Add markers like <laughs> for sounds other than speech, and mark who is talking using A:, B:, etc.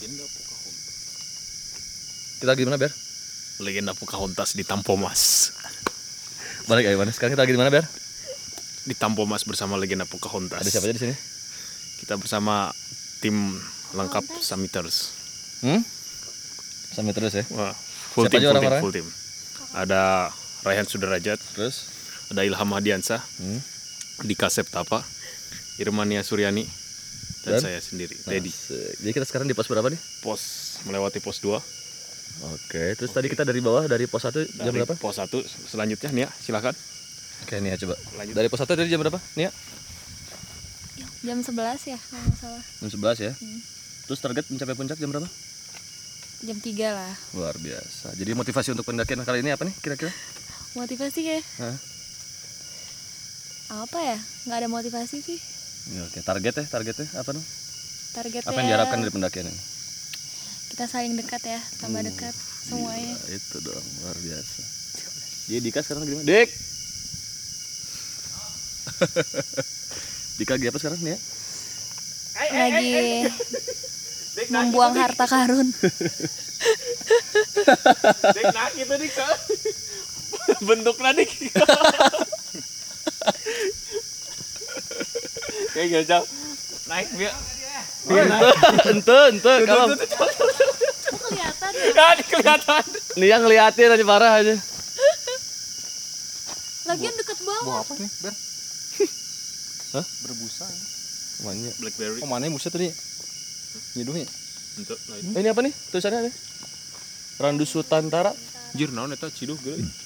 A: Legenda Pocahontas.
B: Kita lagi di mana, Ber?
A: Legenda Pocahontas di Tampomas.
B: Balik ya, gimana? Sekarang kita lagi di mana, Ber?
A: Di Tampomas bersama Legenda Pocahontas.
B: Ada siapa aja di sini?
A: Kita bersama tim lengkap Summiters.
B: Hmm? Sampai terus ya.
A: Wah, full
B: Siapa
A: team,
B: aja
A: full team,
B: orang-orangnya?
A: full team. Ada Raihan Sudrajat,
B: Terus?
A: ada Ilham Hadiansyah,
B: Hmm?
A: Dika Septapa, Irmania Suryani, dan,
B: Dan?
A: saya sendiri, Teddy.
B: Asik. Jadi kita sekarang di pos berapa nih?
A: Pos melewati pos 2.
B: Oke, terus tadi kita dari bawah dari pos 1 jam
A: Dari
B: berapa?
A: pos 1 selanjutnya Nia, silakan.
B: Oke, Nia coba.
A: Lanjut.
B: Dari pos 1 tadi jam berapa? Nia?
C: jam 11 ya kalau nggak salah
B: Jam 11 ya.
C: Hmm.
B: Terus target mencapai puncak jam berapa?
C: jam 3 lah
B: Luar biasa. Jadi motivasi untuk pendakian kali ini apa nih kira-kira?
C: motivasi ya
B: Hah?
C: apa ya nggak ada motivasi sih
B: Ya, oke, target ya, targetnya apa nih?
C: targetnya
B: Apa yang diharapkan dari pendakian ini?
C: kita saling dekat ya
B: Hmm.
C: tambah dekat semuanya
B: Gila, itu dong, luar biasa. Jadi Dika sekarang lagi di mana? Dik. <laughs> Dika lagi apa sekarang nih ya?
C: lagi membuang harta karun
A: Nah, itu dik. Bentuknya dik. Kayak gak jauh. Naik dia.
B: Ente, ente, kalau
C: kelihatan
A: Nah, kelihatan.
B: Nia ngeliatin aja parah aja.
C: lagian deket banget
D: apa nih ber
B: Hah?
D: berbusa ya.
B: Mana?
A: Blackberry.
B: Oh, mana yang buset tadi? Nyeduhnya.
A: Bentuk.
B: Eh, ini apa nih? Tulisannya ada. Randu Sutantara.
A: Jir naon eta ciduh geulah.